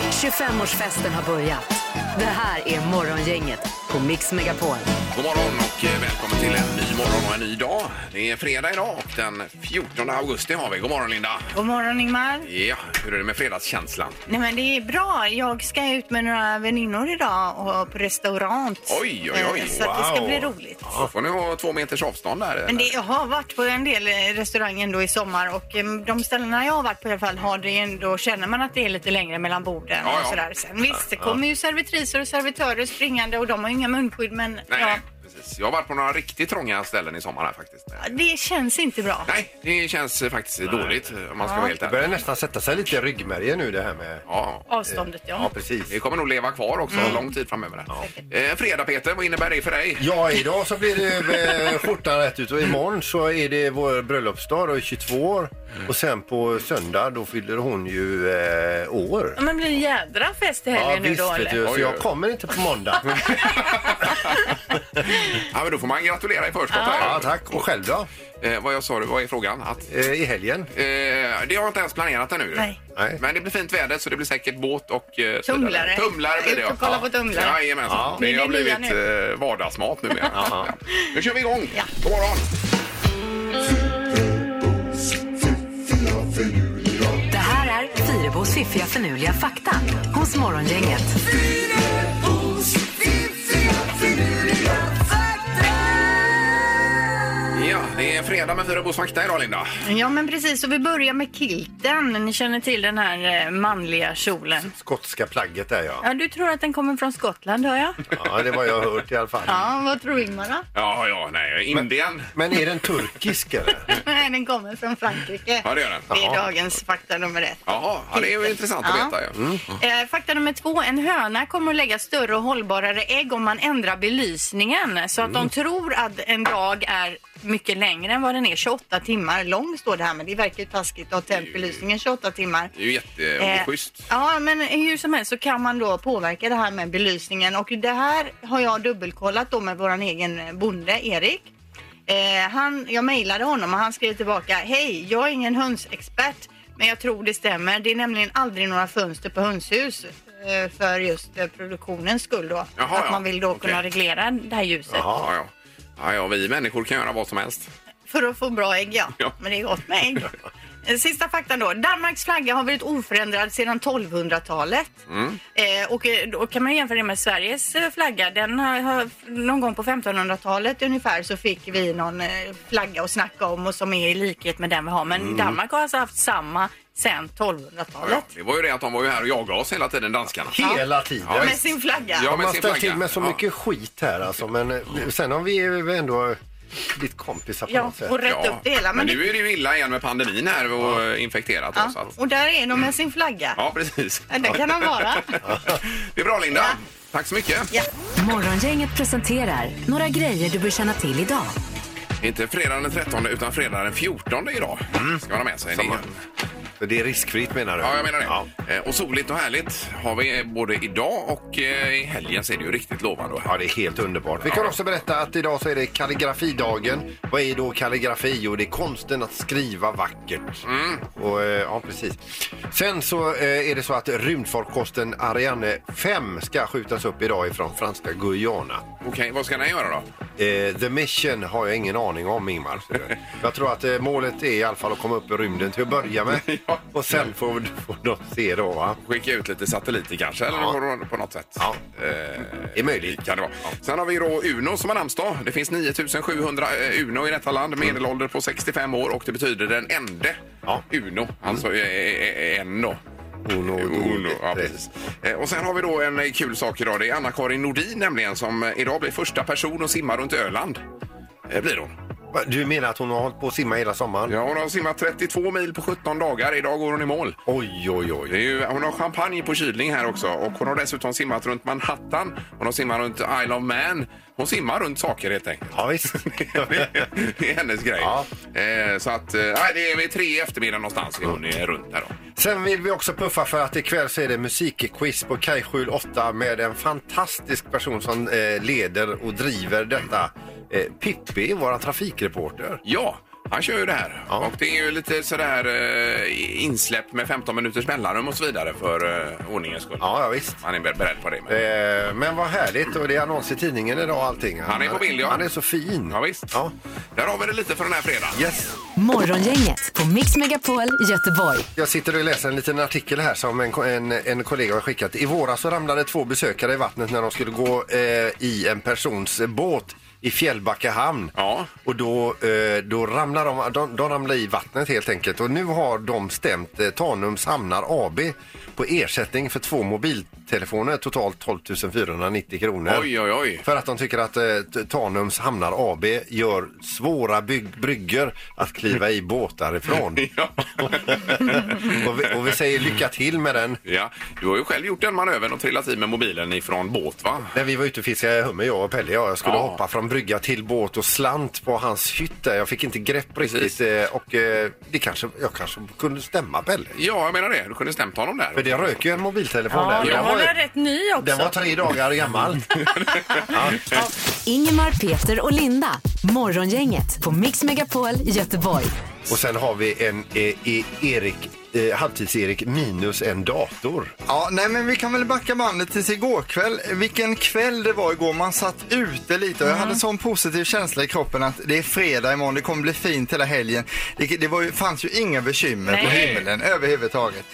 25-årsfesten har börjat. Det här är Morgongänget på Mix Megapol. God morgon och eh, välkommen till en ny morgon och en ny dag. Det är fredag idag och den 14 augusti har vi. God morgon Linda! God morgon Ingmar. Ja, hur är det med fredagskänslan? Nej men det är bra. Jag ska ut med några väninnor idag och på restaurant. Oj, oj, oj. Eh, Så att det ska Wow. bli roligt. Då får ni ha två meters avstånd där. Men det, eller? jag har varit på en del eh, restauranger ändå i sommar och eh, de ställena jag har varit på i alla fall har det ändå, känner man att det är lite längre mellan borden Ja, och ja. sådär. Sen visst, det kommer ju servitriser och servitörer springande och de har ju inga munskydd men Nej, ja, precis. Jag har varit på några riktigt trånga ställen i sommar här faktiskt. det känns inte bra. Nej, det känns eh, faktiskt dåligt om man ska vara helt Det ärlig. börjar nästan sätta sig lite i ryggmärgen nu det här med... Ja. Avståndet ja. Ja, precis. Mm. Det kommer nog leva kvar också lång tid framöver. Ja. Eh, fredag Peter, vad innebär det för dig? Ja, idag så blir det eh, skjortan rätt ut och imorgon så är det vår bröllopsdag, då är 22 år. Mm. Och sen på söndag då fyller hon ju eh, år. Ja, Men blir det en jädra fest i helgen nu då vet eller? du, Oj, så oj. jag kommer inte på måndag. Ja, men då får man gratulera i förskott. här. Ja, tack. Och själv då? Eh, vad jag sa du, vad är frågan? Att, Eh, I helgen? eh, det har jag inte ens planerat ännu. Nej. Nej. Men det blir fint väder så det blir säkert båt och... Eh, Tumlare. Tumlare blir det Ut och kolla på tumlare. Jajamensan. Ja. Det Det är har det nya blivit eh, vardagsmat nu. ja. Nu kör vi igång. Ja. God morgon. Det här är Fyrebos fiffiga förnuliga fakta hos Morgongänget. Ja, det är fredag med Fyrebos fakta idag Linda. Ja men precis, och vi börjar med kilten. Ni känner till den här eh, manliga kjolen. Skotska plagget där ja. Ja, du tror att den kommer från Skottland hör jag. Ja, det var jag har hört i alla fall. Ja, vad tror Ingmar då? Ja, ja, nej. Indien. Men är den turkisk eller? Nej, den kommer från Frankrike. Ja, det gör den. Det är Jaha. dagens fakta nummer ett. Jaha, ja, det är ju intressant att Ja. veta. Ja. Mm. Eh, fakta nummer två. En höna kommer att lägga större och hållbarare ägg om man ändrar belysningen. Så att Mm. de tror att en dag är mycket längre än vad den är. 28 timmar lång står det här, men det verkar ju taskigt att ha tänt belysningen 28 timmar. Det är ju Eh, jätteschysst. Ja, men hur som helst så kan man då påverka det här med belysningen och det här har jag dubbelkollat då med våran egen bonde Erik. Eh, han, jag mejlade honom och han skrev tillbaka Hej, jag är ingen hönsexpert men jag tror det stämmer. Det är nämligen aldrig några fönster på hönshus eh, för just eh, produktionens skull då. Jaha, att ja. man vill då Okej. kunna reglera det här ljuset Ja, ja. Ja, ja, vi människor kan göra vad som helst. för att få bra ägg ja. Ja. Men det är gott med ägg. Eh, Sista faktan då. Danmarks flagga har varit oförändrad sedan 1200-talet. Eh, och eh, då kan man ju jämföra det med Sveriges eh, flagga. Den har, har, någon gång på 1500-talet ungefär så fick vi någon eh, flagga att snacka om och som är i likhet med den vi har. Men Mm. Danmark har alltså haft samma sedan Ja, ja. 1200-talet. Det var ju det att de var ju här och jagade oss hela tiden, danskarna. Hela tiden. Ja, Med sin flagga. Ja, Ja, men man sin ställt flagga. till med så Ja. mycket skit här alltså. Men eh, sen har vi ju ändå ditt kompisar på Ja, något sätt. och rätt upp det hela. Men, Men det, nu är det ju illa igen med pandemin här och eh, infekterat. Ja, så ja. att, Och där är de med sin flagga. ja precis. Ja, Där kan de vara. Det är bra, Linda. Ja. Tack så mycket. Ja. Morgongänget presenterar några grejer du bör känna till idag. Inte fredagen den 13 utan fredagen den 14 idag. Ska man ha med sig. Det är- Mm. Samma. För det är riskfritt menar du? Ja, jag menar det. Ja. Eh, Och soligt och härligt har vi eh, både idag och eh, i helgen ser det ju riktigt lovande och Ja, det är helt underbart. Vi kan också berätta att idag så är det kalligrafidagen. Vad är då kalligrafi? Jo, det är konsten att skriva vackert. Mm. Och, eh, ja, precis. Sen så eh, är det så att rymdfarkosten Ariane 5 ska skjutas upp idag ifrån franska Guyana. Okej, vad ska den göra då? Eh, the Mission har jag ingen aning om, Ingmar. Jag tror att eh, målet är i alla fall att komma upp i rymden till att börja med. Ja. Och sen får, får de se då, va? Skicka ut lite satelliter kanske eller Ja. på- på något sätt? Ja. Eh, är möjligt. Kan det vara. Sen har vi då Uno som har namnsdag. Det finns 9700 eh, Uno i detta land. Medelålder på 65 år och det betyder den ende Ja. Mm. Uno. Alltså eh, eh, en då. Uno, Uno, ja, tre. precis. Eh, Och sen har vi då en eh, kul sak idag. Det är Anna-Karin Nordin nämligen som eh, idag blir första person att simma runt Öland. Eh, Blir hon. Va, Du menar att hon har hållit på att simma hela sommaren? Ja, hon har simmat 32 mil på 17 dagar. Idag går hon i mål. Oj, oj, oj. Det är ju, hon har champagne på kylning här också och hon har dessutom simmat runt Manhattan. Hon har simmat runt Isle of Man. Hon simmar runt saker helt enkelt. Ja, visst. det är hennes grej. Ja. Eh, så att, eh, nej, det är vid tre i eftermiddag någonstans är hon är runt där då. Sen vill vi också puffa för att ikväll så är det musikquiz på Kaj 8 med en fantastisk person som eh, leder och driver detta. Eh, Pippi, vår trafikreporter. Ja, Han kör ju det här. Och det är ju lite sådär eh, insläpp med 15 minuters mellanrum och så vidare för eh, ordningens skull. Ja, ja visst. Man är ber- beredd på det. Men... Eh, men vad härligt. Och det är annons i tidningen idag allting. Han är på bild, ja. Han är så fin. Ja, visst. Ja. Där har vi det lite för den här fredagen. Yes. Morgongänget på Mix Megapol Göteborg. Jag sitter och läser en liten artikel här som en, en, en kollega har skickat. I våras så ramlade två besökare i vattnet när de skulle gå eh, i en persons eh, båt i Fjällbacka hamn. Ja. Och då, eh, då ramlar de, de, de ramlar i vattnet helt enkelt. Och nu har de stämt eh, Tanums Hamnar AB på ersättning för två mobiltelefoner, totalt 12 490 kronor. Oj, oj, oj. För att de tycker att eh, T- Tanums Hamnar AB gör svåra bygg, bryggor att kliva i båtar ifrån. Ja. och, vi, och vi säger lycka till med den. ja. Du har ju själv gjort den manövern och trillat i med mobilen ifrån båt, va? När vi var ute och fiskade hummer, jag och Pelle, ja, jag skulle Ja. hoppa från brygga till båt och slant på hans hytt där. Jag fick inte grepp riktigt eh, och eh, det kanske, jag kanske kunde stämma Pelle. Ja, jag menar det. Du kunde stämt honom För där. det rök ju en mobiltelefon Ja, där. då Den var var, den rätt ny också. den var tre dagar gammal. Ingemar, Peter och Linda. Morgongänget på Mix Megapol Göteborg. och sen har vi en eh, eh, Erik, eh, halvtids-Erik minus en dator. Ja, nej men vi kan väl backa bandet tills igår kväll. Vilken kväll det var igår. Man satt ute lite och jag Mm. hade sån positiv känsla i kroppen att det är fredag imorgon, det kommer bli fint hela helgen. Det, det var ju, fanns ju inga bekymmer på Nej. himlen överhuvudtaget.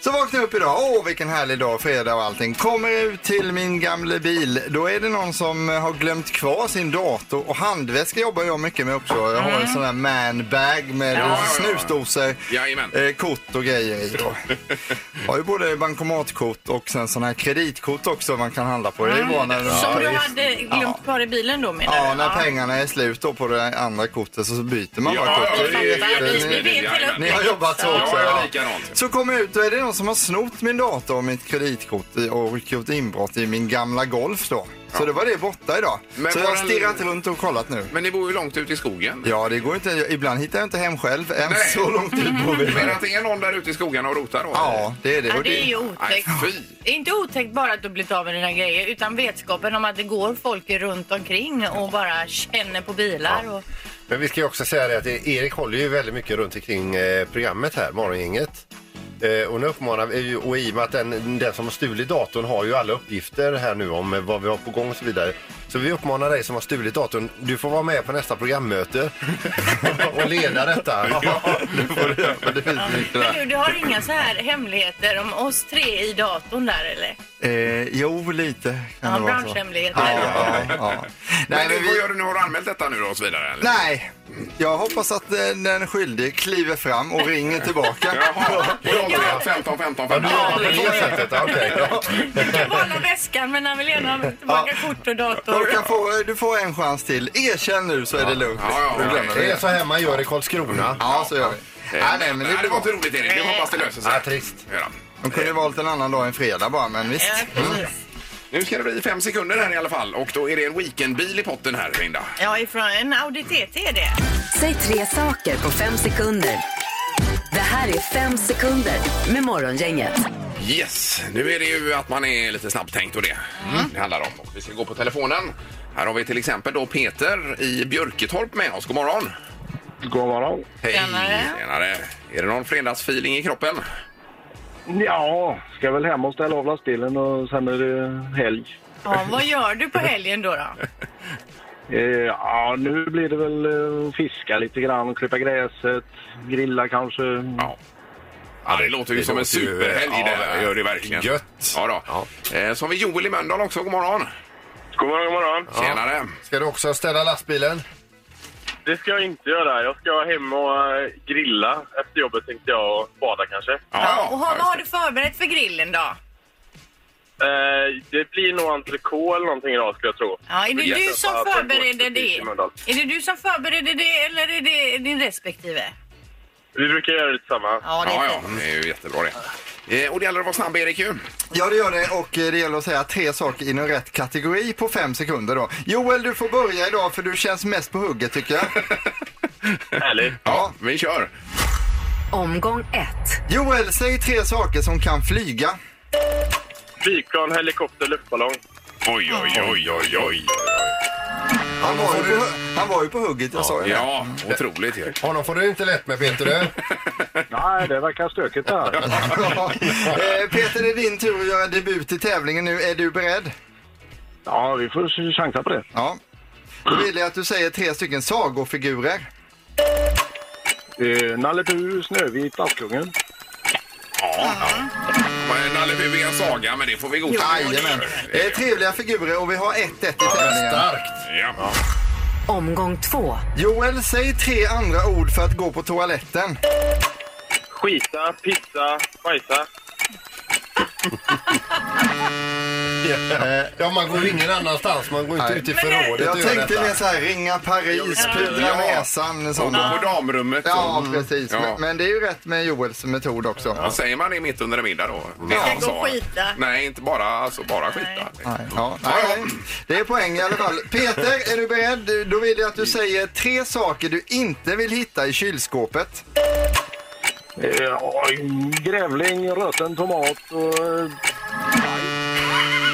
Så vaknade jag upp idag. Åh, vilken härlig dag, fredag och allting. Kommer ut till min gamla bil. Då är det någon som eh, har glömt kvar sin dator och handväska jobbar jag mycket med också. Jag har en sån här manbag med Mm. Ja, ja, ja. snusdosor. Jajamän. Eh, kort och grejer i då. Har ju både bankomatkort och sen sådana här kreditkort också man kan handla på. Det är bra när Som du ja, hade glömt kvar i bilen då menar ja, du? när pengarna är slut då på det andra kortet så byter man bara ja, kort. ja, Det är ja, jätte- ja, ja, Vi vet hela jajamän. Ni har jobbat så också. Ja, ja, likadant. Så kom jag ut och är det någon som har snott min dator och mitt kreditkort i- och gjort inbrott i min gamla Golf då. Så det var det borta idag. Men så jag var har den- stirrat runt och kollat nu. Men ni bor ju långt ute i skogen. Ja, det går inte. Ibland hittar jag inte hem själv. Än Nej. så långt ut bor vi. Men att det är någon där ute i skogen och rotar då? Ja, det är det. Ja, Och det är ju Nej, otäckt. fy. Det är inte otäckt bara att du blivit av med dina grejer utan vetskapen om att det går folk runt omkring och bara känner på bilar. Och... Men vi ska ju också säga det att Erik håller ju väldigt mycket runt omkring eh, programmet här, Morgongänget. Eh, och nu uppmanar vi, ju- och i och med att den, den som har stulit datorn har ju alla uppgifter här nu om eh, vad vi har på gång och så vidare. Så vi uppmanar dig som har stulit datorn, du får vara med på nästa programmöte och leda detta. det får du göra, för det finns mycket Men där. du, du har inga så här hemligheter om oss tre i datorn där eller? Eh, jo, lite kan Ja, det vara så. branschhemligheter. Ja, ja, ja. Nej, Nej, men vad vi, gör du nu? Har du anmält detta nu då och så vidare? eller? nej, jag hoppas att eh, den skyldige kliver fram och ringer tillbaka. Jaha, på 15 15 15. Ja, på det sättet, ja, okej. Du kan behålla väskan men han vill gärna ha tillbaka kort och Du, dator. kan få, eh, du får en chans till. Erkänn nu så är det lugnt. Ja, ja, Du glömmer okej. Det är det. så här man gör i Karlskrona. Ja, så gör vi. Nej, nej, men det Nej, det blir var bra. inte roligt Erik. Vi hoppas det löser sig. Ja, trist. Göran. De kunde ju valt en annan dag än fredag bara, men visst. Ja, precis. Mm. Nu ska det bli fem sekunder här i alla fall och då är det en weekendbil i potten här Linda. Ja, ifrån en Audi TT är det. Säg tre saker på fem sekunder. Det här är fem sekunder med Morgongänget. Yes, nu är det ju att man är lite snabbtänkt och det Mm. det handlar om. Och vi ska gå på telefonen. Här har vi till exempel då Peter i Björketorp med oss. God morgon! God morgon. Hej! Tjenare. Tjenare! Är det någon fredagsfeeling i kroppen? Ja, ska väl hem och ställa av lastbilen och sen är det helg. Ja, vad gör du på helgen då? då? Eh, ja, nu blir det väl eh, fiska lite grann, klippa gräset, grilla kanske. Ja. Ja, det låter ju det som en låter ju- superhelg ja, det här. gör det verkligen. gött. Ja, då. Eh, Så har vi Joel i Mölndal också. God morgon! God morgon, god morgon. Tjenare! Ska du också ställa lastbilen? Det ska jag inte göra. Jag ska hem och eh, grilla efter jobbet tänkte jag och bada kanske. Ja, och har, just vad har du förberett för grillen då? Eh, det blir nog entrecote eller någonting idag skulle jag tro. Ja, är det Yes. du som Ja, på en förbereder gård det? i Mölndal. Är det du som förbereder det eller är det din respektive? Vi brukar göra det tillsammans. Ja, det Ja, är ja, fint. det är ju jättebra det. Eh, Och det gäller att vara snabb, Erik. Ju. Ja, det gör det. Och eh, det gäller att säga tre saker inom rätt kategori på fem sekunder då. Joel, du får börja idag för du känns mest på hugget tycker jag. Härligt. Ja, vi kör. Omgång ett. Joel, säg tre saker som kan flyga. Flygplan, helikopter, luftballong. Oj, oj, oj, oj, oj. Han var ju på, han var ju på hugget, jag sa ju det. Ja, otroligt ju. Honom får du inte lätt med Peter. du. Nej, det verkar stökigt det här. Ja. Eh, Peter, det är din tur att göra debut i tävlingen nu. Är du beredd? Ja, vi får chansa på det. Ja. Då vill jag att du säger tre stycken sagofigurer. Eh, Nalle Puh, Snövit, Askungen. Ja, ja. Nalle Puh är en saga, men det får vi godta. Jajamän. Eh, trevliga figurer och vi har 1-1 i tävlingen. Starkt. Ja. Omgång två. Joel, säg tre andra ord för att gå på toaletten. Skita, pizza, bajsa. Ja, man går ingen annanstans. Man går inte Nej. ut i förrådet och Jag gör tänkte mer detta. så här, ringa Paris, pudra Ja. näsan, Och gå sådana. på damrummet. Ja, och- precis. Ja. Men, men det är ju rätt med Joels metod också. Vad säger man det mitt under en middag då? Det Ja. han Gå och sa. skita. Nej, inte bara, alltså, bara skita. Nej, ja, nej, det är poäng i alla fall. Peter, är du beredd? Då vill jag att du säger tre saker du inte vill hitta i kylskåpet. Eh, oj, grävling, röten tomat och... eh,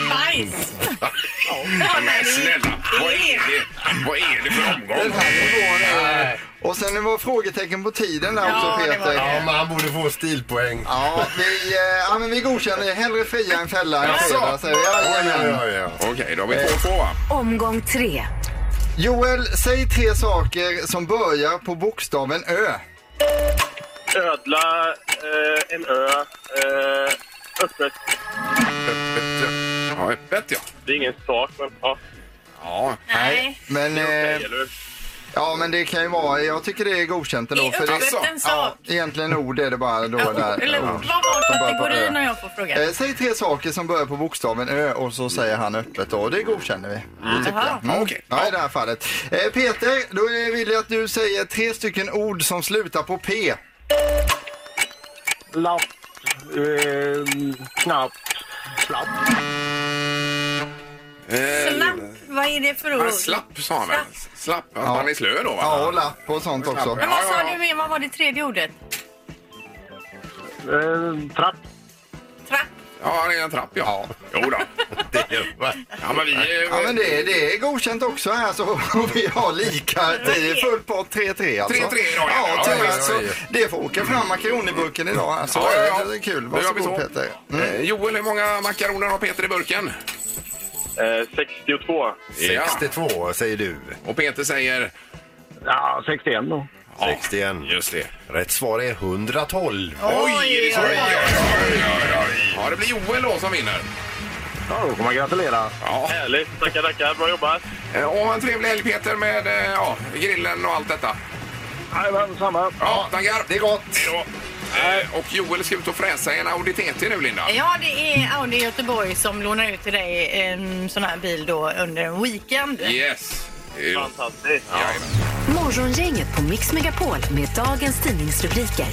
Bajs! Men snälla, vad är det, vad är det för omgång? Den här nivån är... Och sen det var frågetecken på tiden där också det var Peter. Ja, men han borde få stilpoäng. Ja, vi, eh, ja, men vi godkänner hellre fria än fälla än Jaså? fredag, säger vi. Oj, oj, Jajamän. oj, oj. Okej, då har vi Eh. 2-2 va? Omgång tre. Joel, säg tre saker som börjar på bokstaven Ö. Ödla, eh, en ö, eh, öppet. Ja, öppet ja. Det är ingen sak, men ja. Ja, Nej. Men, eh, ja, men det kan ju vara... Jag tycker det är godkänt I ändå. För det, öppet en sak. egentligen ord är det bara då där. Eller vad Som var börjar på Ö. kategorin när jag får fråga? Eh, säg tre saker som börjar på bokstaven Ö och så säger han öppet då. Det godkänner vi. Det tycker jag. Mm. Ja, okej. Ja, i det här fallet. Eh, Peter, då eh, vill jag att du säger tre stycken ord som slutar på P. Lapp, eh, knapp, slapp. Eh, Slapp, vad är det för man ord? slapp sa han väl? Slapp, att Ja. man är slö då va? Ja, och lapp och sånt också. Men vad Ja, ja, sa ja. du mer? Vad var det tredje ordet? Eh, trapp. Trapp? Ja, det är en trapp ja. Jo då. Ja, men vi... eh, Ja, men det, det är godkänt också här så och vi har lika. Det är full pott 3-3 alltså. 3-3 idag, ja. Ja, Ja, tyvärr. ja, alltså, ja. det får åka fram makaroniburken idag. Alltså. Ja, ja, ja. Det är kul. Då gör vi Varsågod så. Peter. Eh, Joel, hur många makaroner har Peter i burken? Eh, 62. Ja. 62 säger du. Och Peter säger... Ja, 61 då. Ja, 61. Just det. Rätt svar är 112. Oj, är det så? Oj, oj, oj, oj, oj. Ja, det blir Joel då som vinner. Ja, då får man gratulera. Ja. Härligt. Tackar, tackar. Bra jobbat. Eh, Och ha en trevlig helg Peter med eh, ja, grillen och allt detta. Jajamän, samma. Ja, tackar. Det är gott. Hej då. Eh, Och Joel ska ut och fräsa i en Audi TT nu Linda. Ja, det är Audi Göteborg som lånar ut till dig en sån här bil då under en weekend. Yes. Ja. Fantastiskt. Morgongänget på Mix Megapol med dagens tidningsrubriker.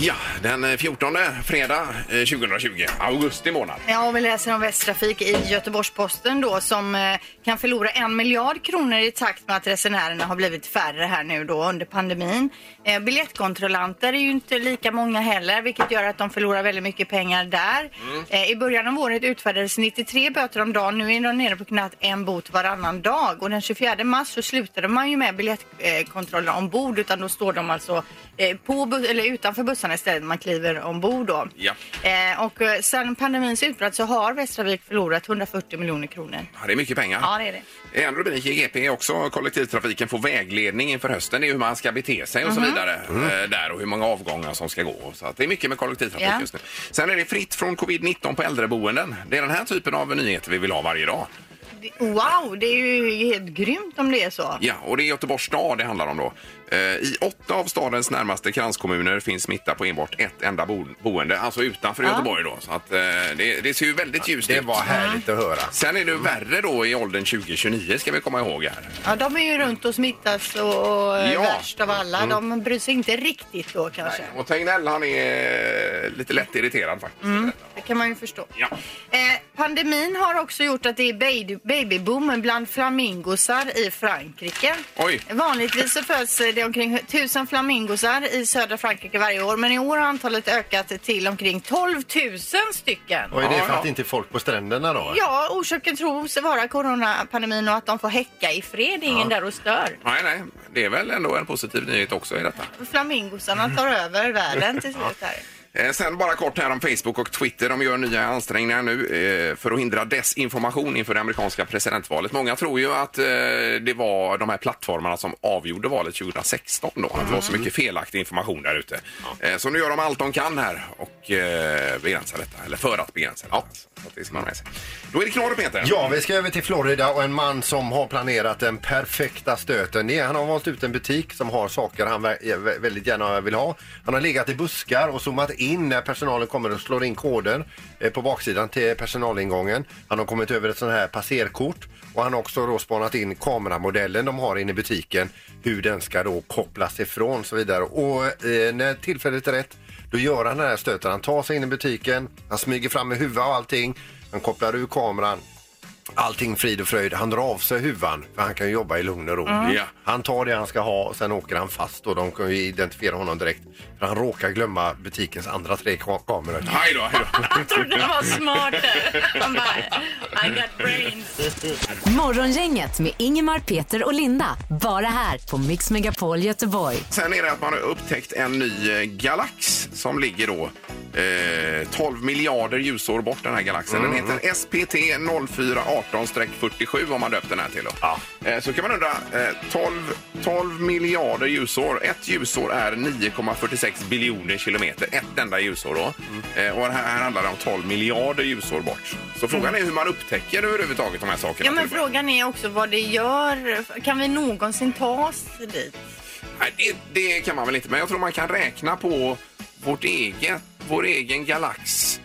ja, den eh, 14 fredag eh, 2020, augusti månad. Ja, och vi läser om Västtrafik i Göteborgs-Posten då som eh, kan förlora en miljard kronor i takt med att resenärerna har blivit färre här nu då under pandemin. Eh, biljettkontrollanter är ju inte lika många heller vilket gör att de förlorar väldigt mycket pengar där. Eh, I början av året utfärdades 93 böter om dagen. Nu är de nere på knappt en bot varannan dag och den 24 mars så slutade man ju med biljettkontrollen ombord utan då står de alltså eh, på, bu- eller utanför bussarna istället. Man kliver ombord då. Ja. Eh, och eh, sen pandemins utbrott så har Västravik förlorat 140 miljoner kronor. Ja, det är mycket pengar. Ja, det är det. En rubrik i GP är också kollektivtrafiken får vägledning inför hösten. Det är hur man ska bete sig och så Mhm. vidare. eh, Där och hur många avgångar som ska gå. Så att det är mycket med kollektivtrafik Mm. Ja. just nu. Sen är det fritt från covid-19 på äldreboenden. Det är den här typen av nyheter vi vill ha varje dag. Det- Wow, det är ju helt grymt om det är så. Ja, och det är Göteborgs stad det handlar om då. Eh, I åtta av stadens närmaste kranskommuner finns smitta på enbart ett enda bo boende. Alltså utanför Göteborg då. Så att, eh, det, det ser ju väldigt ljust Det ut. var härligt att höra. Sen är det ju värre då i åldern 20-29 ska vi komma ihåg här. Ja, de är ju runt och smittas och, och eh, Ja. värst av alla. De bryr sig inte riktigt då kanske. Och Tegnell han är lite lätt irriterad faktiskt. Mm, Det kan man ju förstå. Ja. Eh, pandemin har också gjort att det är baby- babyboomen bland flamingosar i Frankrike. Oj. Vanligtvis så föds det omkring 1000 flamingosar i södra Frankrike varje år men i år har antalet ökat till omkring 12 000 stycken. Och är det Ja, för ja. att inte är folk på stränderna då? Ja, orsaken tros vara coronapandemin och att de får häcka i fred. Det är ingen där och stör. Nej, nej. Det är väl ändå en positiv nyhet också i detta. Mm. Flamingosarna tar över världen till slut här. Eh, Sen bara kort här om Facebook och Twitter. De gör nya ansträngningar nu eh, för att hindra desinformation inför det amerikanska presidentvalet. Många tror ju att eh, det var de här plattformarna som avgjorde valet 2016 då. Att det var så mycket felaktig information där ute. Eh, Så nu gör de allt de kan här och eh, begränsar detta. Eller för att begränsa detta. Så att det ska man ha med sig. Då är det knorr Peter. Ja, vi ska över till Florida och en man som har planerat den perfekta stöten. Det är, han har valt ut en butik som har saker han vä- väldigt gärna vill ha. Han har legat i buskar och zoomat in när personalen kommer och slår in koden eh, på baksidan till personalingången. Han har kommit över ett sånt här passerkort och han har också då spanat in kameramodellen de har inne i butiken, hur den ska då kopplas ifrån och så vidare. Och eh, när tillfället är rätt då gör han den här stöten. Han tar sig in i butiken, han smyger fram med huva och allting. Han kopplar ur kameran, Allting frid och fröjd. Han drar av sig huvan för han kan ju jobba i lugn och ro. Ja. Han tar det han ska ha och sen åker han fast och de kan ju identifiera honom direkt. För han råkar glömma butikens andra tre ka- kameror. Hej då, hej då. Jag trodde han var smart där. Han bara, I got brains. Morgongänget med Ingemar, Peter och Linda. Bara här på Mix Megapol Göteborg. Sen är det att man har upptäckt en ny eh, galax som ligger då eh, 12 miljarder ljusår bort den här galaxen. Mm. Den heter SPT 0418-47 om man döpt den här till. Då. Eh, så kan man undra, eh, 12, 12 miljarder ljusår. Ett ljusår är 9,46 biljoner kilometer. Ett enda ljusår då. Mm. Eh, och här, här handlar det om 12 miljarder ljusår bort. Så frågan är hur man upptäcker överhuvudtaget de här sakerna. Mm. Ja, men till att börja frågan är också vad det gör. Kan vi någonsin ta oss dit? Nej, det, det kan man väl inte, men jag tror man kan räkna på vårt eget, vår egen galax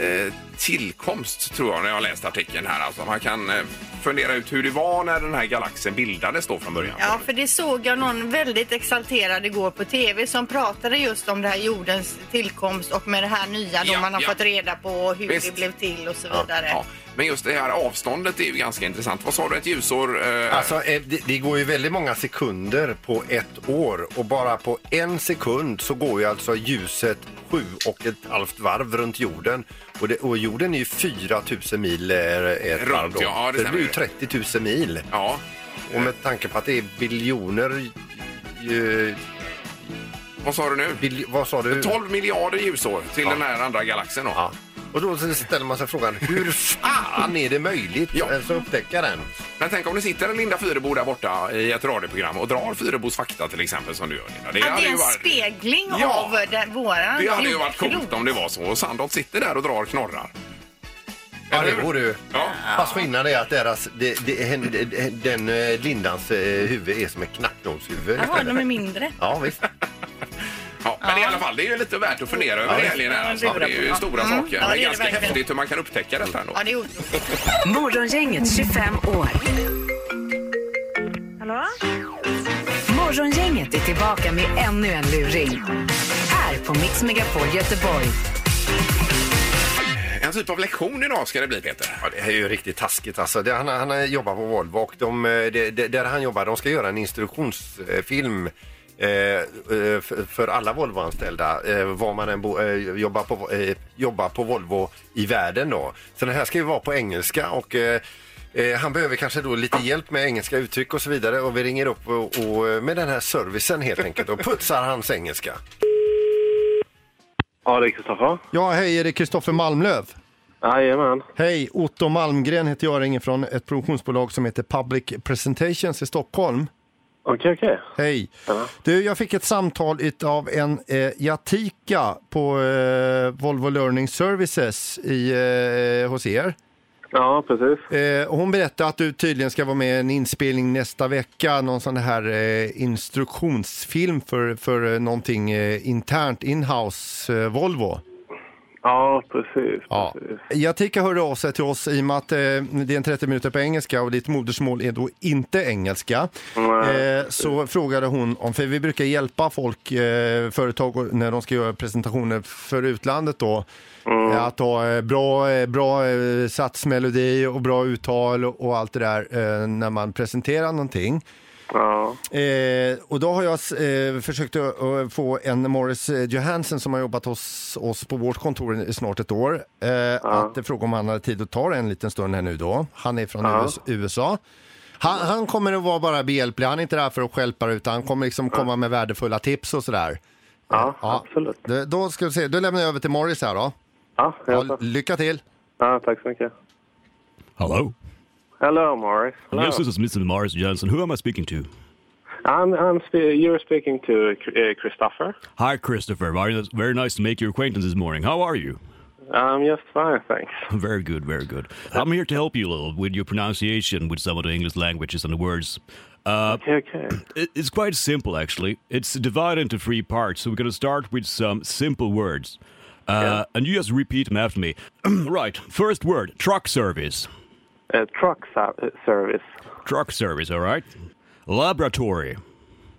eh, tillkomst, tror jag, när jag läst artikeln här. Alltså, man kan eh, fundera ut hur det var när den här galaxen bildades då från början. Ja, för det såg jag någon väldigt exalterad igår på tv som pratade just om det här jordens tillkomst och med det här nya då Ja, man har ja. fått reda på hur Visst. det blev till och så vidare. Ja, Men just det här avståndet är ju ganska intressant. Vad sa du, ett ljusår? Eh, Alltså, eh, det, det går ju väldigt många sekunder på ett år och bara på en sekund så går ju alltså ljuset sju och ett halvt varv runt jorden. Och, det, och jorden är ju 4 000 mil eh, ett Runt, varv då. ja, det det blir ju stämmer 30 000 mil. ja. Och med tanke på att det är biljoner... eh, Vad sa du nu? Bil, vad sa du? 12 miljarder ljusår till Ja. den här andra galaxen då. Ja. Och då ställer man sig frågan, hur fan är det möjligt Ja. att upptäcka den? Men tänk om det sitter en Linda Fyrebo där borta i ett radioprogram och drar Fyrebos fakta till exempel som du gör Linda. Att hade det är ju en varit- spegling Ja. av den, våran Det hade ju varit jordklot. coolt om det var så. Och Sandholt sitter där och drar knorrar. Ja, Eller det hur? vore ju. Ja. Fast skillnaden är att deras, det, det, hen- det- den eh, Lindans eh, huvud är som ett knacknålshuvud. Jaha, de är mindre. Ja, visst. Ja, men i alla fall, det är ju lite värt att fundera över i helgen. Här, alltså. Det är ju stora saker. det är men det ganska verkligen. häftigt hur man kan upptäcka detta ändå. Ja, det är otroligt. Morgongänget 25 år. Hallå? Morgongänget är tillbaka med ännu en luring. Här på Mix Megapol Göteborg. En typ av lektion idag ska det bli, Peter. Ja, det här är ju riktigt taskigt alltså. Det, han, han jobbar på Volvo och de, eh, det, det, där han jobbar, de ska göra en instruktionsfilm eh, eh, för, för alla Volvoanställda, eh, var man än bo, eh, jobbar, på, eh, jobbar på Volvo i världen då. Så den här ska ju vara på engelska och eh, eh, han behöver kanske då lite hjälp med engelska uttryck och så vidare och vi ringer upp och, och eh, med den här servicen helt enkelt och putsar hans engelska. Ja, det är Kristoffer. Ja, hej, är det Kristoffer Malmlöv? Jajamän. Hej, Otto Malmgren heter jag, ringer från ett produktionsbolag som heter Public Presentations i Stockholm. Okej, okej. Hej. Du, jag fick ett samtal av en eh, Jatika på eh, Volvo Learning Services i, eh, hos er. Ja, precis. Eh, och hon berättade att du tydligen ska vara med i en inspelning nästa vecka, någon sån här eh, instruktionsfilm för, för eh, någonting eh, internt inhouse eh, Volvo. Ja, precis. Ja. precis. Jatika hörde av sig till oss i och med att eh, det är en 30 minuter på engelska och ditt modersmål är då inte engelska. Nej. Eh, så frågade hon om, för vi brukar hjälpa folk, eh, företag och- när de ska göra presentationer för utlandet då, Mm. eh, att ha eh, bra, eh, bra eh, satsmelodi och bra uttal och allt det där eh, när man presenterar någonting. Ja. Eh, och då har jag eh, försökt att, att få en Morris eh, Johansson som har jobbat hos oss på vårt kontor i snart ett år eh, att fråga om han hade tid att ta det en liten stund här nu då. Han är från US- USA. Han, han kommer att vara bara behjälplig, han är inte där för att stjälpa utan han kommer liksom komma med värdefulla tips och sådär. Eh, Ja, absolut. Det- Då ska vi se, då lämnar jag över till Morris här då. Ja, Ja, jag tar. lycka till! ja, tack så mycket. Hello? Hello, Morris. Hello. Yes, this is Mr. Morris Jensen. Who am I speaking to? I'm, I'm spe- you're speaking to uh, Christopher. Hi, Christopher. Very, very nice to make your acquaintance this morning. How are you? I'm just Um, fine, thanks. Very good, very good. I'm here to help you a little with your pronunciation with some of the English languages and the words. Uh, Okay. it- it's quite simple, actually. It's divided into three parts, so we're going to start with some simple words. Uh, And you just repeat them after me. right, first word truck service. Uh, truck sa- uh, service. Truck service, all right? Laboratory.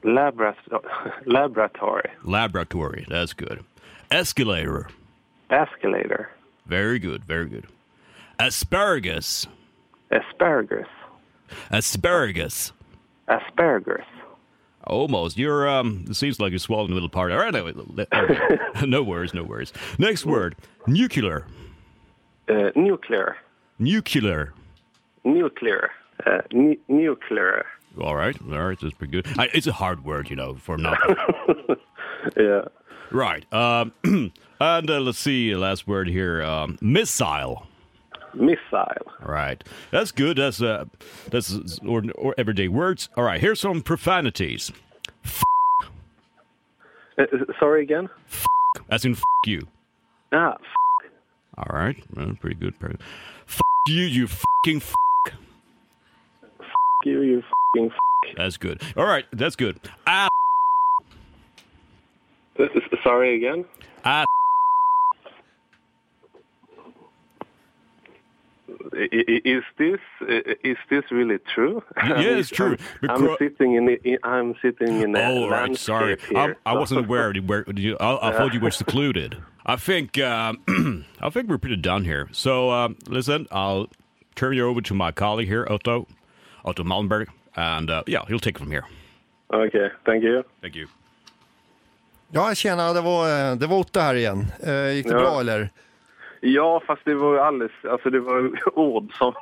Labras- laboratory. Laboratory, that's good. Escalator. Escalator. Very good, very good. Asparagus. Asparagus. Asparagus. Asparagus. Almost. You're um it seems like you're swallowing a little part. All right, anyway, let- there we go. no worries, no worries. Next word. Nuclear. Uh, nuclear. Nuclear. Nuclear. Uh, nu- nuclear. All right, all right, that's pretty good. I, it's a hard word, you know, for now. Yeah. right. Um and uh, let's see last word here. Um missile. Missile. All right. That's good. That's uh that's or, or everyday words. All right, here's some profanities. Uh, sorry again? As in f- you. Ah, f- All right, well, pretty good. Pretty. F you, you fucking. F- you, you f***ing that's good. All right, that's good. Ah, f- Eh, Sorry again? Ah. I- i- Is this i- is this really true? yeah, it's true, I'm, I'm because- sitting in the, I'm sitting in a all right. landscape Oh, Sorry, Um, I, here. I wasn't aware. you Where you, I, I thought you were secluded. I think um, I think we're pretty done here. So um, listen, I'll turn you over to my colleague here, Otto, Otto Malmberg, and uh, yeah, he'll take it from here. Okay, thank you. Thank you. Ja tjena, det var, eh, det var Otto här igen. Eh, gick det Ja. bra eller? Ja, fast det var ju alldeles, alltså det var ju ord som,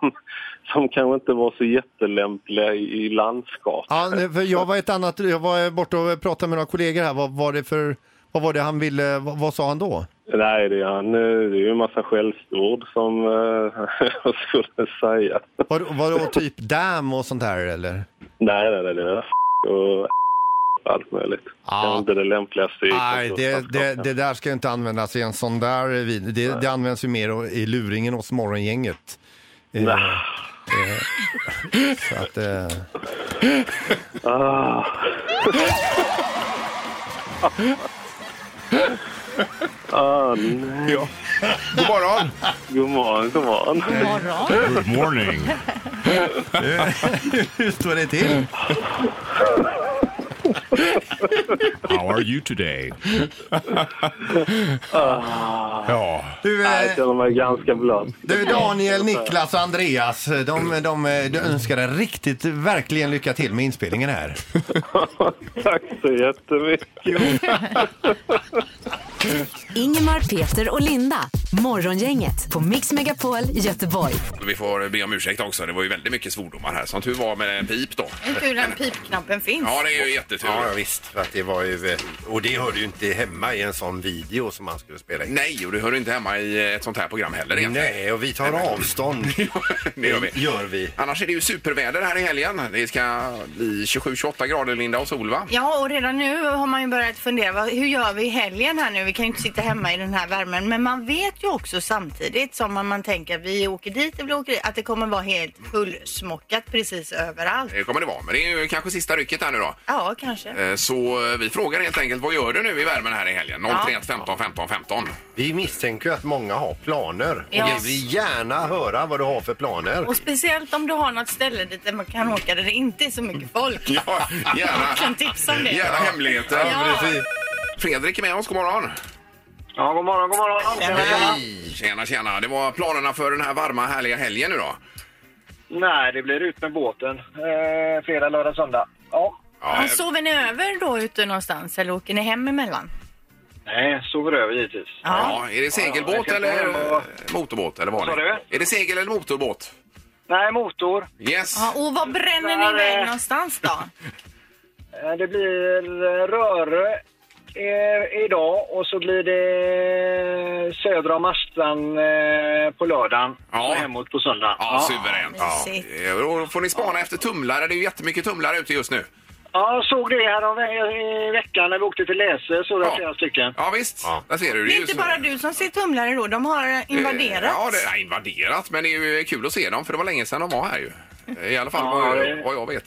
som kanske inte var så jättelämpliga i, i landskap. Ja, nej, för jag var ett annat, jag var borta och pratade med några kollegor här. Vad var det för, vad var det han ville, vad, vad sa han då? Nej, det är, han, eh, det är ju en massa skällsord som eh, jag skulle säga. Var, var det typ damn och sånt här eller? Nej, nej, nej, det är f- och allt möjligt. Ja. Det är inte det lämpligaste. i Nej, det, det, kontorslandskapet. det där ska ju inte användas i en sån där vid. Det, det används ju mer i luringen hos morgongänget. Eh, Nej. eh, så att, eh, Ah. ah, nej. God morgon! God morgon, god morgon. Good morning. hur står det till? How are you today? Ja. Du, eh, Ah. Jag känner mig ganska blöt. du Daniel, Niklas och Andreas, de, de, de, de önskar en riktigt, verkligen lycka till med inspelningen här. Tack så jättemycket. Ingemar, Peter och Linda. Morgongänget på Mix Megapol Göteborg. Vi får be om ursäkt också. Det var ju väldigt mycket svordomar här. Som tur var med pip då. Inte hur den pipknappen finns. Ja, det är ju jättetur. Ja, ja, visst. För att det var ju, eh, och det hörde ju inte hemma i en sån video som man skulle spela in. Nej, och det hör inte hemma i eh, ett sånt här program heller. egentligen. Nej, och vi tar avstånd. det gör vi. Gör vi. Annars är det ju superväder här i helgen. Det ska bli 27-28 grader, Linda, och sol, va? Ja, och redan nu har man ju börjat fundera, vad, hur gör vi i helgen här nu? vi kan ju inte sitta hemma i den här värmen. Men man vet ju också samtidigt som om man tänker vi åker dit eller vi åker dit, att det kommer vara helt fullsmockat precis överallt. Det kommer det vara, men det är ju kanske sista rycket här nu då. Ja, kanske. Eh, Så eh, vi frågar helt enkelt, vad gör du nu i värmen här i helgen? 031 15 15 15. Vi misstänker ju att många har planer. Ja. Och vi vill gärna höra vad du har för planer. Och speciellt om du har något ställe dit där man kan åka där det inte är så mycket folk. Ja, gärna. Jag kan tipsa om det. Gärna hemligheter. Ja. Precis. Fredrik är med oss, god morgon. Ja, god morgon, god morgon. Hej! Tjena, tjena. Det var planerna för den här varma, härliga helgen nu då? Nej, det blir ut med båten. Eh, fredag, lördag, söndag. Ja. Ja, Alltså, Och sover ni över då ute någonstans eller åker ni hem emellan? Nej, sover över givetvis. ja. Är det Ja, jag segelbåt ska eller hem och- motorbåt? Eller vad Vad sa är det? du? Är det segel eller motorbåt? Nej, motor. Yes. Ja, och vad bränner ni Där, iväg eh, någonstans då? Eh, Det blir Röre eh, idag och så blir det södra Marstrand eh, på lördagen Ja. och hemåt på söndag. Ja, suveränt. Ja. Mysigt. Eh, och Då får ni spana efter tumlare. Det är ju jättemycket tumlare ute just nu. Ja, jag såg det här om, i veckan när vi åkte till Läsö, såg jag Ja. flera stycken. Ja, visst. Ja. Där ser du. Det är ju inte så- Eh, bara du som ser tumlare då, de har invaderat. Ja, det, nej, invaderat. Men det är ju kul att se dem för det var länge sedan de var här ju. Eh, I alla fall Ja, vad, det- vad jag vet.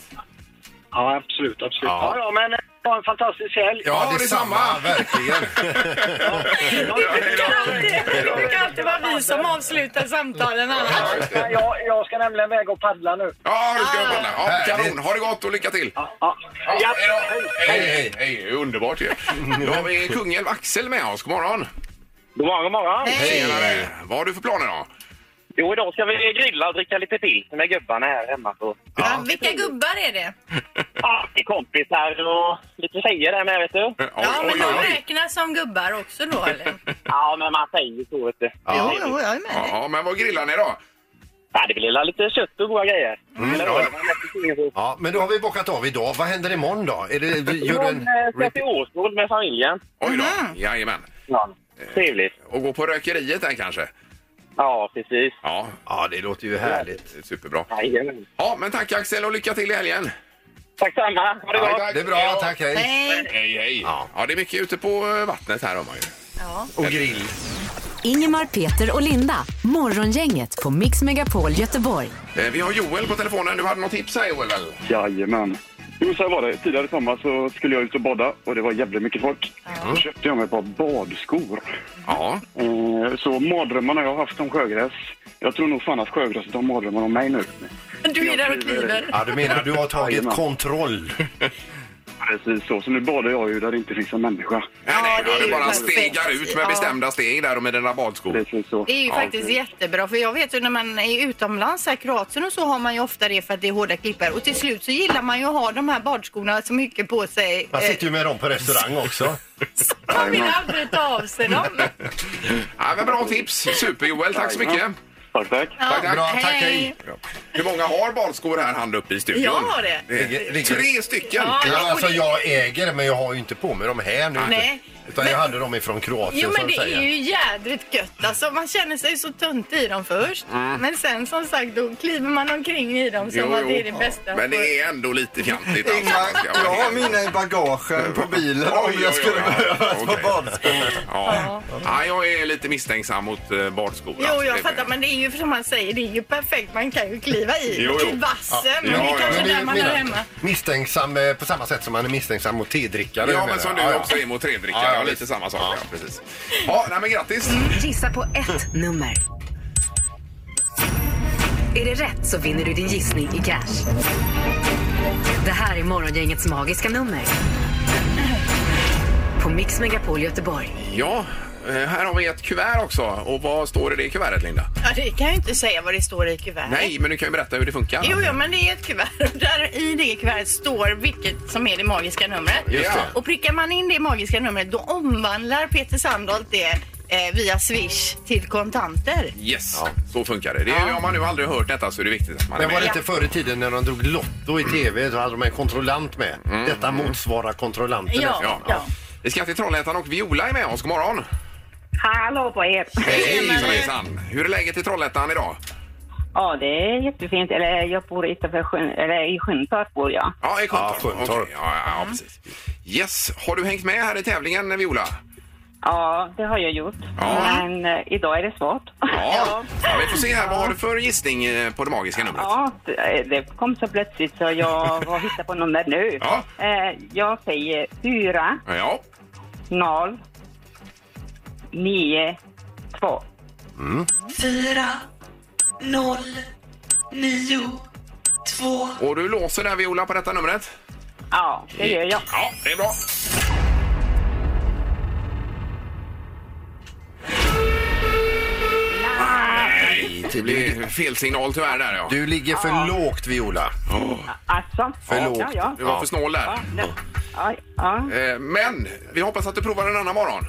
Ja, absolut, absolut. Ja. Ja, ja, men eh, ha en fantastisk helg. Ja, detsamma. Verkligen. Det brukar alltid- det brukar alltid vara vi som avslutar samtalen annars. Ja, Jag, jag ska nämligen väga och paddla nu. Ja, nu ska Ah. jag kolla. Ja, kanon. Ha det gott och lycka till. Ja, ja. Ja, Ja, hej då. hej. Hej, hej, hej. Underbart ju. Då har vi Kungälv Axel med oss. God morgon. God morgon, god morgon. Tjenare. Vad har du för planer då? Jo, idag ska vi grilla och dricka lite pilsner med gubbarna här hemma. Ah, Så. Ja, vilka gubbar är det? Ja, till kompisar och lite tjejer där med, vet du. Ja, men de räknas som gubbar också då eller? Ja, men man säger så, vet du. Jo, jo, jag är med dig. Ja, men vad grillar ni då? Mm, Ja, det blir lite kött och goda grejer. Eller vad? Ja, men då har vi bockat av idag. Vad händer imorgon då? Är det, gör du en... Imorgon eh, ska till Åsbord med familjen. Oj då. Jajamän. Eh, Ja, Trevligt. Och gå på rökeriet där kanske? Ja, precis. Ja, Ja, det låter ju härligt. det är superbra. Jajamän. Ja, men tack Axel och lycka till i helgen. Tack samma. Ha det Ja, gott. tack. Det är bra, tack. Hej. Nej. Hej, hej. Ja. det är mycket ute på eh, vattnet här har man ju. Och grill. Ingemar, Peter och Linda. Morgongänget på Mix Megapol Göteborg. Eh, Vi har Joel på telefonen. Du hade något tips här Joel? väl? Jajamän. Jo, så här var det. Tidigare i sommar så skulle jag ut och bada och det var jävligt mycket folk. Då köpte jag mig ett par badskor. Ja. Eh, så mardrömmarna jag har haft om sjögräs, jag tror nog fan att sjögräset har mardrömmar om mig nu. Du är där och kliver. Ja, du menar du har tagit Jajamän. kontroll? Precis så. Så nu badar jag ju där det inte finns en människa. Ja, nej, det är du ju bara perfekt. stegar ut med Ja. bestämda steg där och med dina badskor. Precis så. Det är ju Ja, faktiskt jättebra för jag vet ju när man är utomlands, här, Kroatien och så har man ju ofta det för att det är hårda klippor och till slut så gillar man ju att ha de här badskorna så mycket på sig. Man eh, sitter ju med dem på restaurang också. så man vill aldrig ta av sig dem. Ja, men bra tips. Super Joel, tack så mycket. Tack, tack. Tack, tack. Bra, tack, hej. Hur många har badskor här hand upp i studion? Jag har det. Ligger- ligger- Tre stycken. Ja. Ja, alltså jag äger, men jag har ju inte på mig dem här nu. Nej. Utan jag hade dem ifrån Kroatien Jo men som du det säger. är ju jädrigt gött alltså. Man känner sig så tunt i dem först. Men sen som sagt då kliver man omkring i dem som Mm. Jo, att jo. det är det bästa. Men det är ändå lite fjantigt. alltså. Ingmar, Man ska vara jag har helt- mina i bagagen på bilen Oj, om oj, oj, jag skulle ja. behöva ett Okej. par badskor. Ja. Ja, jag är lite misstänksam mot eh, badskor. Jo, alltså. jag Det- fattar. Men det är ju som man säger, det är ju perfekt. Man kan ju kliva i Jo, jo. i vassen. Ja, men det ja, är kanske men där man är hemma. Misstänksam eh, på samma sätt som man är misstänksam mot tedrickare. Ja, jag men menar. som du Ja, ja. också är mot tredrickare. Ja, ja, Ja, lite visst. samma sak. Ja, precis. Ja, nej, men grattis! Gissa på ett nummer. Är det rätt så vinner du din gissning i cash. Det här är Morgongängets magiska nummer. På Mix Megapol Göteborg. Ja, eh, här har vi ett kuvert också. Och vad står det i det kuvertet, Linda? Ja, det kan jag ju inte säga vad det står i kuvertet. Nej, men du kan ju berätta hur det funkar. Jo, ja, men det är ett kuvert. Där I det kuvertet står vilket som är det magiska numret. Just det. Och prickar man in det magiska numret då omvandlar Peter Sandholt det eh, via Swish till kontanter. Yes, så funkar det. det är, Om man nu aldrig har hört detta så är det viktigt att man är Men var det med. inte förr i tiden när de drog Lotto i tv så hade de en kontrollant med? Detta motsvarar kontrollanten. Ja. Mm. Ja. Vi ska till Trollhättan och Viola är med oss. God morgon! Hallå på er! Hej! Hejsan! Hur är läget i Trollhättan idag? Ja, det är jättefint. Eller jag bor utanför Skyn, eller i Skyntorp bor jag. Ja, i Sjuntorp. Ja, Sjuntorp. Okej, Ja, ja, ja, precis. Yes, har du hängt med här i tävlingen Viola? Ja, det har jag gjort. Men eh, idag är det svårt. Ja. ja, vi får se här. Vad har du för gissning eh, på det magiska numret? Ja, det- det kom så plötsligt så jag var hitta på nummer nu. Ja. Eh, Jag säger fyra, Ja. noll, nio, två. Mm. Och du låser där Viola på detta numret? Ja, det gör jag. Ja, det är bra. Nej, det blev fel signal tyvärr där ja. Du ligger för lågt, Viola. Alltså. För lågt. Ja, ja. Du var för snål där. Ja, det- ja, ja. Eh, Men vi hoppas att du provar en annan morgon.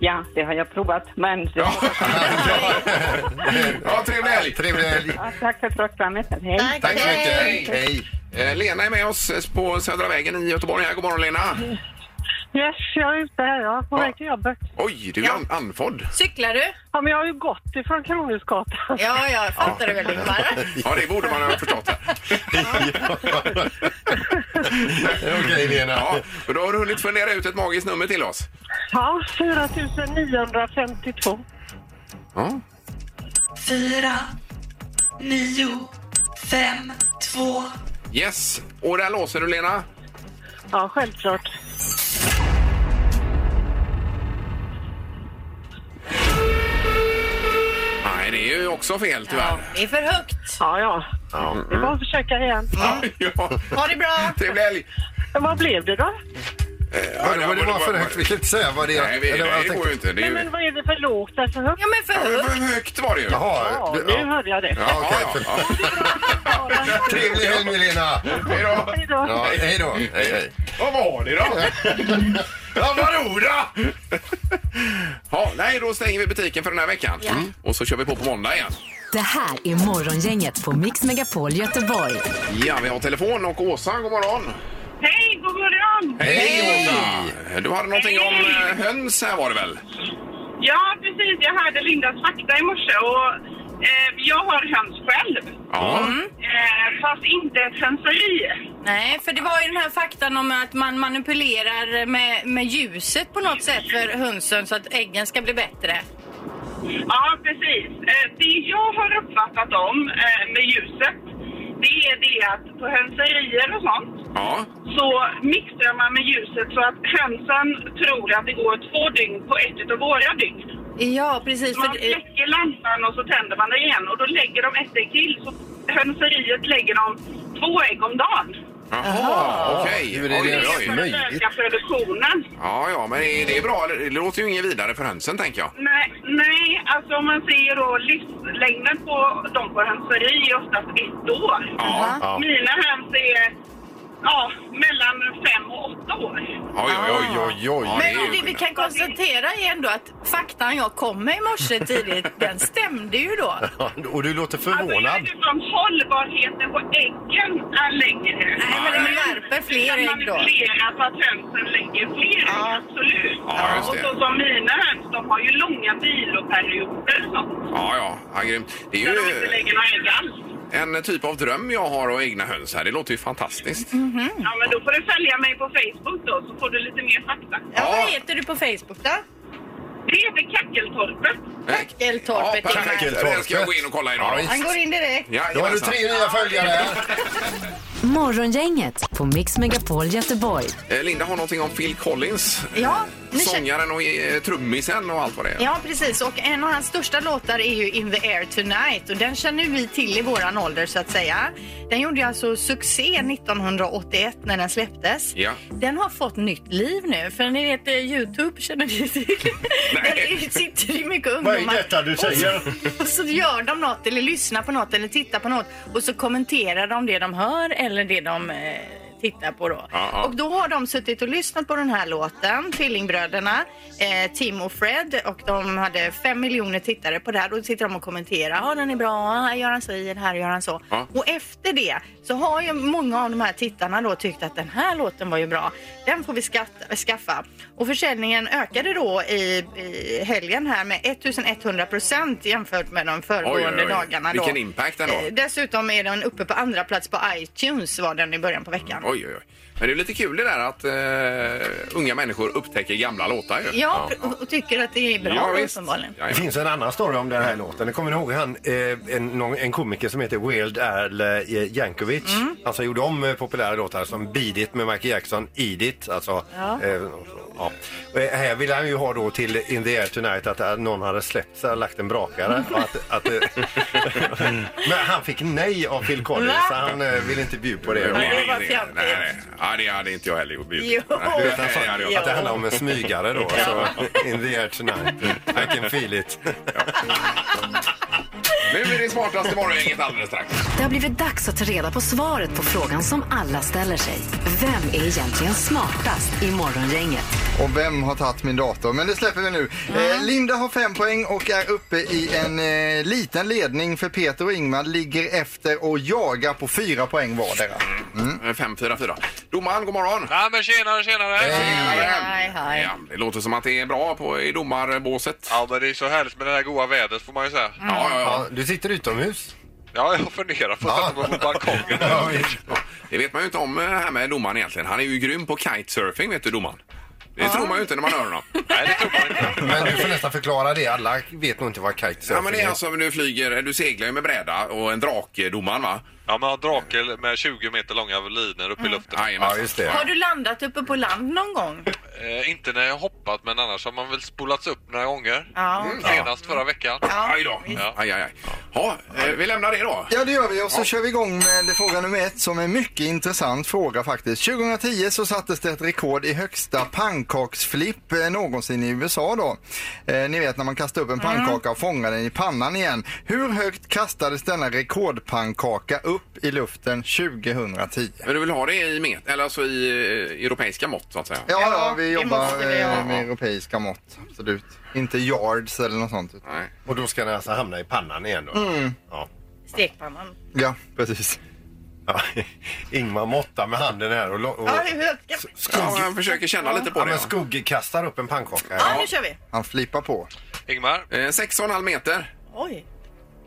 ja, det har jag provat. Men det Ja, trevlig helg! Trevlig helg. ja, tack för programmet. Hej. Tack så Hej. mycket. Hej. Eh, Lena är med oss på Södra vägen i Göteborg. Här, god morgon Lena! Yes, jag är ute här. Jag är på väg till jobbet. Oj, du är an- anfodd. Cyklar du? Ja, men jag har ju gått ifrån Kronhusgatan. Ja, jag fattar det väl Ingmar. Ja, det borde man ha förstått. här. Okej, Lena. Ja, och då har du hunnit fundera ut ett magiskt nummer till oss. Ja, 4952. Ja. Yes, och där låser du Lena. Ja, självklart. Nej, det är ju också fel Ja, tyvärr. det är för högt. Ja, ja. Det var att försöka igen. Ja. Ja. Ha det bra! Trevlig helg! Men vad blev det då? Ja, det var det var för högt. Vi kan inte säga vad det är. Nej, vi, Eller vad jag det går tänkte. ju inte. Det är Nej, ju... men vad är det för lågt? Alltså, högt? Ja, men för Ja, men högt. För högt var det ju. Jaha. Ja, du- nu hörde jag det. Ja, okej. Ja, ja, Trevlig helg, Lena. Hej då! Hej då. Ja, hej då. Hej, hej. Vad var det då? ja, vadå då? ja, nej, då stänger vi butiken för den här veckan. Mm. Och så kör vi på på måndag igen. Det här är Morgongänget på Mix Megapol Göteborg. Ja, vi har telefon och Åsa, god morgon. Hej, god morgon! Hej Åsa! Du hade någonting om eh, höns här var det väl? Ja, precis. Jag hörde Lindas fakta i morse och eh, jag har höns själv. Ja. Eh, fast inte ett hönseri. Nej, för det var ju den här faktan om att man manipulerar med, med ljuset på något sätt för hönsen så att äggen ska bli bättre. Ja, precis. Eh, Det jag har uppfattat om eh, med ljuset, det är det att på hönserier och sånt Ja. så mixtrar man med ljuset så att hönsen tror att det går två dygn på ett utav våra dygn. Ja, precis. Man För, eh, släcker lampan och så tänder man den igen och då lägger de ett ägg till. Så hönseriet lägger de två ägg om dagen. Jaha, okej. Hur är det Oj, ens oj, oj. För att möjligt? öka produktionen. Ja, ja, men är det är bra. eller? Det låter ju inget vidare för hönsen, tänker jag. Nej, nej, alltså om man ser då livslängden på de på hönseri är oftast ett år. Ja. Ja. Mina höns är ja, mellan fem och åtta år. Oj, oj, oj. oj, oj. Ja, är men ju det vi skillnad. kan konstatera är ändå att faktan jag kom med i morse tidigt, den stämde ju då. Ja, Och du låter Alltså jag vet förvånad. inte om hållbarheten på äggen är längre. Nej, men de värper fler ägg då. Manipulera så att hönsen lägger fler ägg, absolut. Ja, just och det. så som mina höns, de har ju långa viloperioder och sånt. Ja, ja, ja, grymt. Det är Där de inte ju lägger några ägg alls. en typ av dröm jag har och egna höns här. Det låter ju fantastiskt. Mm-hmm. Mm. Ja, men då får du följa mig på Facebook då, så får du lite mer fakta. Ja, Ja. vad heter du på Facebook då? Det heter Kackeltorpet. Kackeltorpet. Ja, Eh, perfekt. Kackeltorpet. Den ska jag gå in och kolla Ja, idag. visst. då. Han går in direkt. Ja, Då har du jajamensan. tre nya följare. Morgongänget på Mix Megapol Göteborg. Eh, Linda har någonting om Phil Collins. Ja, ni känner- Sångaren och eh, trummisen och allt vad det är. Ja, precis. Och en av hans största låtar är ju In the air tonight och den känner vi till i våran ålder så att säga. Den gjorde ju alltså succé 1981 när den släpptes. Ja. Den har fått nytt liv nu, för ni vet eh, Youtube känner ni till. Nej. Där sitter ju mycket Vad ungdomar. är detta du säger? Och så gör de något eller lyssnar på något eller tittar på något och så kommenterar de det de hör eller det de eh, tittar på då. Ja, ja. Och då har de suttit och lyssnat på den här låten, Tvillingbröderna, eh, Tim och Fred och de hade fem miljoner tittare på det här. Då sitter de och kommenterar, ja den är bra, här gör han så, i den här gör han så. Ja. Och efter det så har ju många av de här tittarna då tyckt att den här låten var ju bra. Den får vi skatta, skaffa. Och försäljningen ökade då i, i helgen här med 1100 procent jämfört med de föregående dagarna. Då. Vilken impact ändå. Eh, Dessutom är den uppe på andra plats på iTunes var den i början på veckan. Oj, oj, oj. Men det är lite kul det där att eh, unga människor upptäcker gamla låtar ju. Ja, och tycker att det är bra Ja, då, visst. uppenbarligen. Ja, Det ja. finns en annan story om den här låten. Det kommer ni ihåg han, eh, en, någon, en komiker som heter Weird Al eh, Yankovic. Mm. Han som gjorde om eh, populära låtar som Beat It med Michael Jackson, Eat It. Alltså, Ja. eh, ja. Och, eh, här ville han ju ha då till In the air tonight att eh, någon hade släppt sig och lagt en brakare. Mm. Och att, att, eh, men han fick nej av Phil Collins så han eh, ville inte bjuda på det. Nej, nej, var nej, fjantigt. nej, nej. Ja, det hade inte jag heller gjort. Jo. Nej, Du vet, han nej, det hade jag sa inte. att det handlar om en smygare då. Så, in the air tonight, I can feel it. Nu är det smartaste morgongänget alldeles strax. Det har blivit dags att ta reda på svaret på frågan som alla ställer sig. Vem är egentligen smartast i Morgongänget? Och vem har tagit min dator? Men det släpper vi nu. Eh, Linda har fem poäng och är uppe i en eh, liten ledning för Peter och Ingmar ligger efter och jagar på fyra poäng vardera. Mm. Eh, 5-4-4. Domaren, god morgon! Ja, men tjenare, tjenare! Hej, hej. Ja, det låter som att det är bra på, i domarbåset. Ja, men det är så härligt med det här goda vädret får man ju säga. Ja, ja, ja. Ja, du sitter utomhus. Ja, jag funderar på att sätta mig på balkongen. Det vet man ju inte om eh, här med domaren egentligen. Han är ju grym på kitesurfing, vet du domaren. Det tror man ju inte när man hör honom. Nej, det tror man inte. Men du får nästan förklara det. Alla vet nog inte vad kitesurfing Ja, men det är alltså du flyger, du seglar ju med bräda och en drake, domaren va? Ja, man har drake med 20 meter långa linor Mm. uppe i luften. Jajamän. Ja, just det. Har du landat uppe på land någon gång? Eh, inte när jag hoppat, men annars har man väl spolats upp några gånger. Ja. Senast förra veckan. Mm. Aj då. Ja. Aj, aj, aj. Ja, eh, vi lämnar det då. Ja, det gör vi. Och så kör vi igång med fråga nummer ett som är en mycket intressant fråga faktiskt. 2010 så sattes det ett rekord i högsta pannkaksflipp eh, någonsin i USA då. Eh, ni vet när man kastar upp en pannkaka och fångar den i pannan igen. Hur högt kastades denna rekordpannkaka upp i luften 2010? Men du vill ha det i met, eller alltså i eh, europeiska mått så att säga? Ja, ja, det vi jobbar måste vi eh, ha. med europeiska mått. Absolut. Inte yards eller något sånt. Mm. utan- Nej. Och då ska den alltså hamna i pannan igen då? Mm. Ja. Stekpannan. Ja, precis. Ja. Ingmar måttar med handen här och, lo- och Ja, hur högt? ska- Ja, jag försöker känna lite på ja, det. men Skugge kastar upp en pannkaka. Ja, nu kör vi. Han flippar på. Ingmar Eh, 6,5 meter. Oj.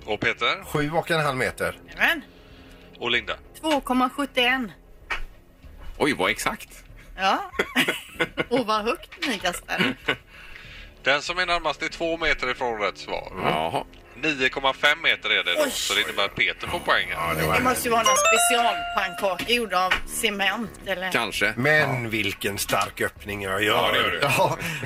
och Peter Sju och en halv meter. Jajamän. och Linda. 2,71. Oj, vad exakt. Ja. Och vad högt ni Mm. kastar. Den som är närmast är två meter ifrån rätt svar. Mm. Jaha. 9,5 meter är det då, så det innebär att Peter får poäng här. Det måste ju vara någon specialpannkaka gjord av cement eller... Kanske. Men vilken stark öppning jag gör. Ja, det gör du.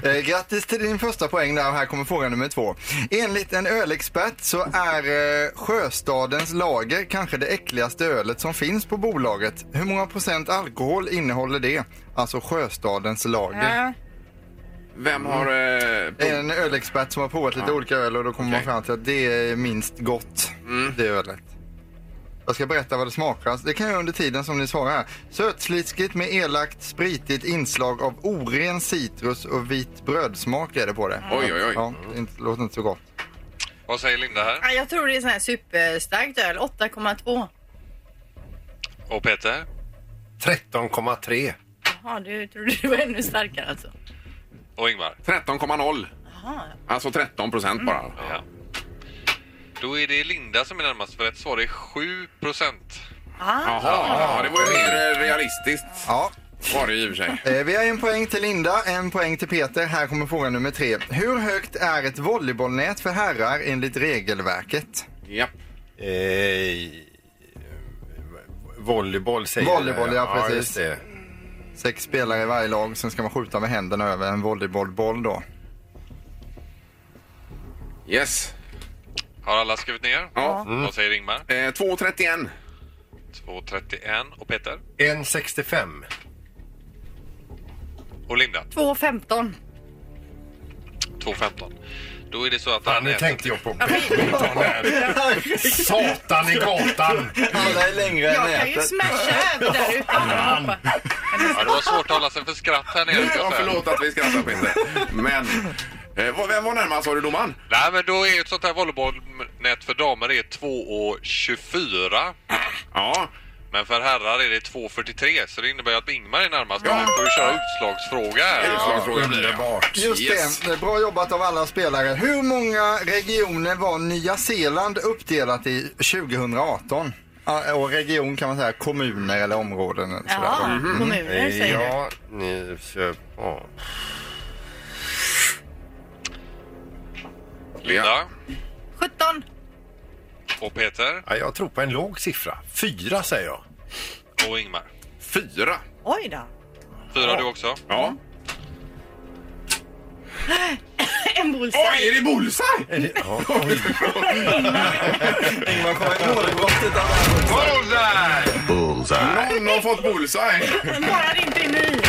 Ja, eh, grattis till din första poäng där och här kommer fråga nummer två. Enligt en ölexpert så är eh, Sjöstadens lager kanske det äckligaste ölet som finns på bolaget. Hur många procent alkohol innehåller det? Alltså Sjöstadens lager. Ja. Vem har... Eh, Det är en ölexpert som har provat lite olika öl och då kommer Okej. Mm. man fram till att det är minst gott, det ölet. Jag ska berätta vad det smakar. Det kan jag göra under tiden som ni svarar här. Sötsliskigt med elakt spritigt inslag av oren citrus och vit brödsmak är det på det. Oj, oj, oj. Ja, det inte- låter inte så gott. Vad säger Linda här? Ja, jag tror det är sån här superstarkt öl. 8,2. Och Peter? 13,3. Jaha, du trodde du var ännu starkare alltså. Och Ingmar? Mm. 13,0. Alltså 13 procent bara. Ja. Då är det Linda som är närmast för rätt svar. Det är 7 procent. Jaha, ja, det var ju mer eh, realistiskt. Ja. Var det ju i och för sig. Eh, Vi har en poäng till Linda, en poäng till Peter. Här kommer fråga nummer tre. Hur högt är ett volleybollnät för herrar enligt regelverket? Japp. Eh, volleyboll säger Volleyboll, ja, precis. just det. Sex spelare i varje lag, sen ska man skjuta med händerna över en volleybollboll då. Yes. Har alla skrivit ner? Mm. Ja. Vad säger Ingmar? Eh, 2,31. 2,31. Och Peter? 1,65. Och Linda? 2,15. 2,15. Då är det så att... Fan, nu nätet- tänkte jag på badminton här. Satan i gatan! Alla är längre än Jag kan ju nätet. smasha över där utan att hoppa. Ja, det var svårt att hålla sig för skratt här nere. ska Ja, jag säga. förlåt att vi skrattar Peter. Men... Eh, vad- vem var närmast sa du domaren? Nej, men då är ett sånt här volleybollnät för damer är 2,24. Ja. Men för herrar är det 2,43 så det innebär ju att Ingmar är närmast. Men vi får ju köra utslagsfråga här. Utslagsfrågan blir det. ja. Just Yes. det, bra jobbat av alla spelare. Hur många regioner var Nya Zeeland uppdelat i 2018? Ja, Och region kan man säga, kommuner eller områden. eller sådär. Mm. Ja, kommuner säger du. Ja, ni köp... Ja. Linda 17. och Peter Ja, jag tror på en låg siffra. Fyra säger jag. och Ingmar. Fyra. Oj då. Fyra du också. Ja. En bullseye. Oj, är det bullseye? Är det- Ja. Ingmar kommer i målbrottet. Bullseye! Någon har fått bullseye. Bara det inte är ni.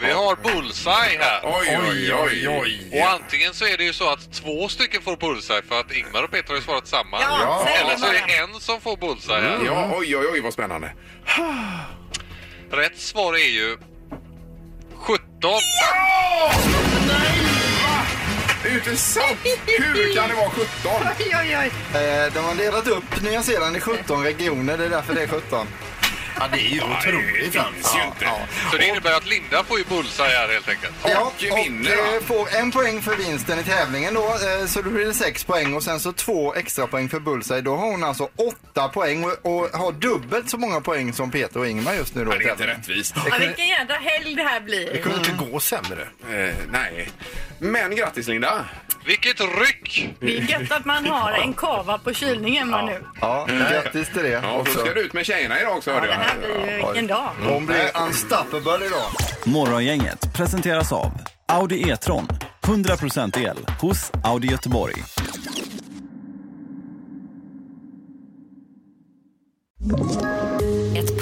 Vi har bullseye här. Oj, oj, oj, oj. Och antingen så är det ju så att två stycken får bullseye för att Ingmar och Peter har ju svarat samma. Ja, säg Eller så är bara. det en som får bullseye här. Ja, oj, oj, oj, vad spännande. Rätt svar är ju 17. Det är ju inte sant! Hur kan det vara 17? Oj, oj, oj. Eh, De har delat upp Nya Zeeland i 17 regioner, det är därför det är 17. ja, det är ju otroligt alltså. ju inte. Så det innebär att Linda får ju bullseye här helt enkelt. Ja, Och och vinner, eh, va? får en poäng för vinsten i tävlingen då, eh, så då blir det sex poäng och sen så två extra poäng för bullseye. Då har hon alltså åtta poäng och, och har dubbelt så många poäng som Peter och Ingmar just nu då. Det är inte tävlingen. rättvist. Ja, vilken jädra helg det här blir. Det kunde inte gå sämre. Eh, nej. Men grattis, Linda. Vilket ryck! Det är gött att man har en kava på kylningen man nu. Ja, grattis till det Ja, då också. ska du ut med tjejerna idag också, Ja, hörde det här jag. blir ju vilken dag. Hon blir unstoppable idag. Morgongänget presenteras av Audi E-tron. 100% el hos Audi Göteborg. Ett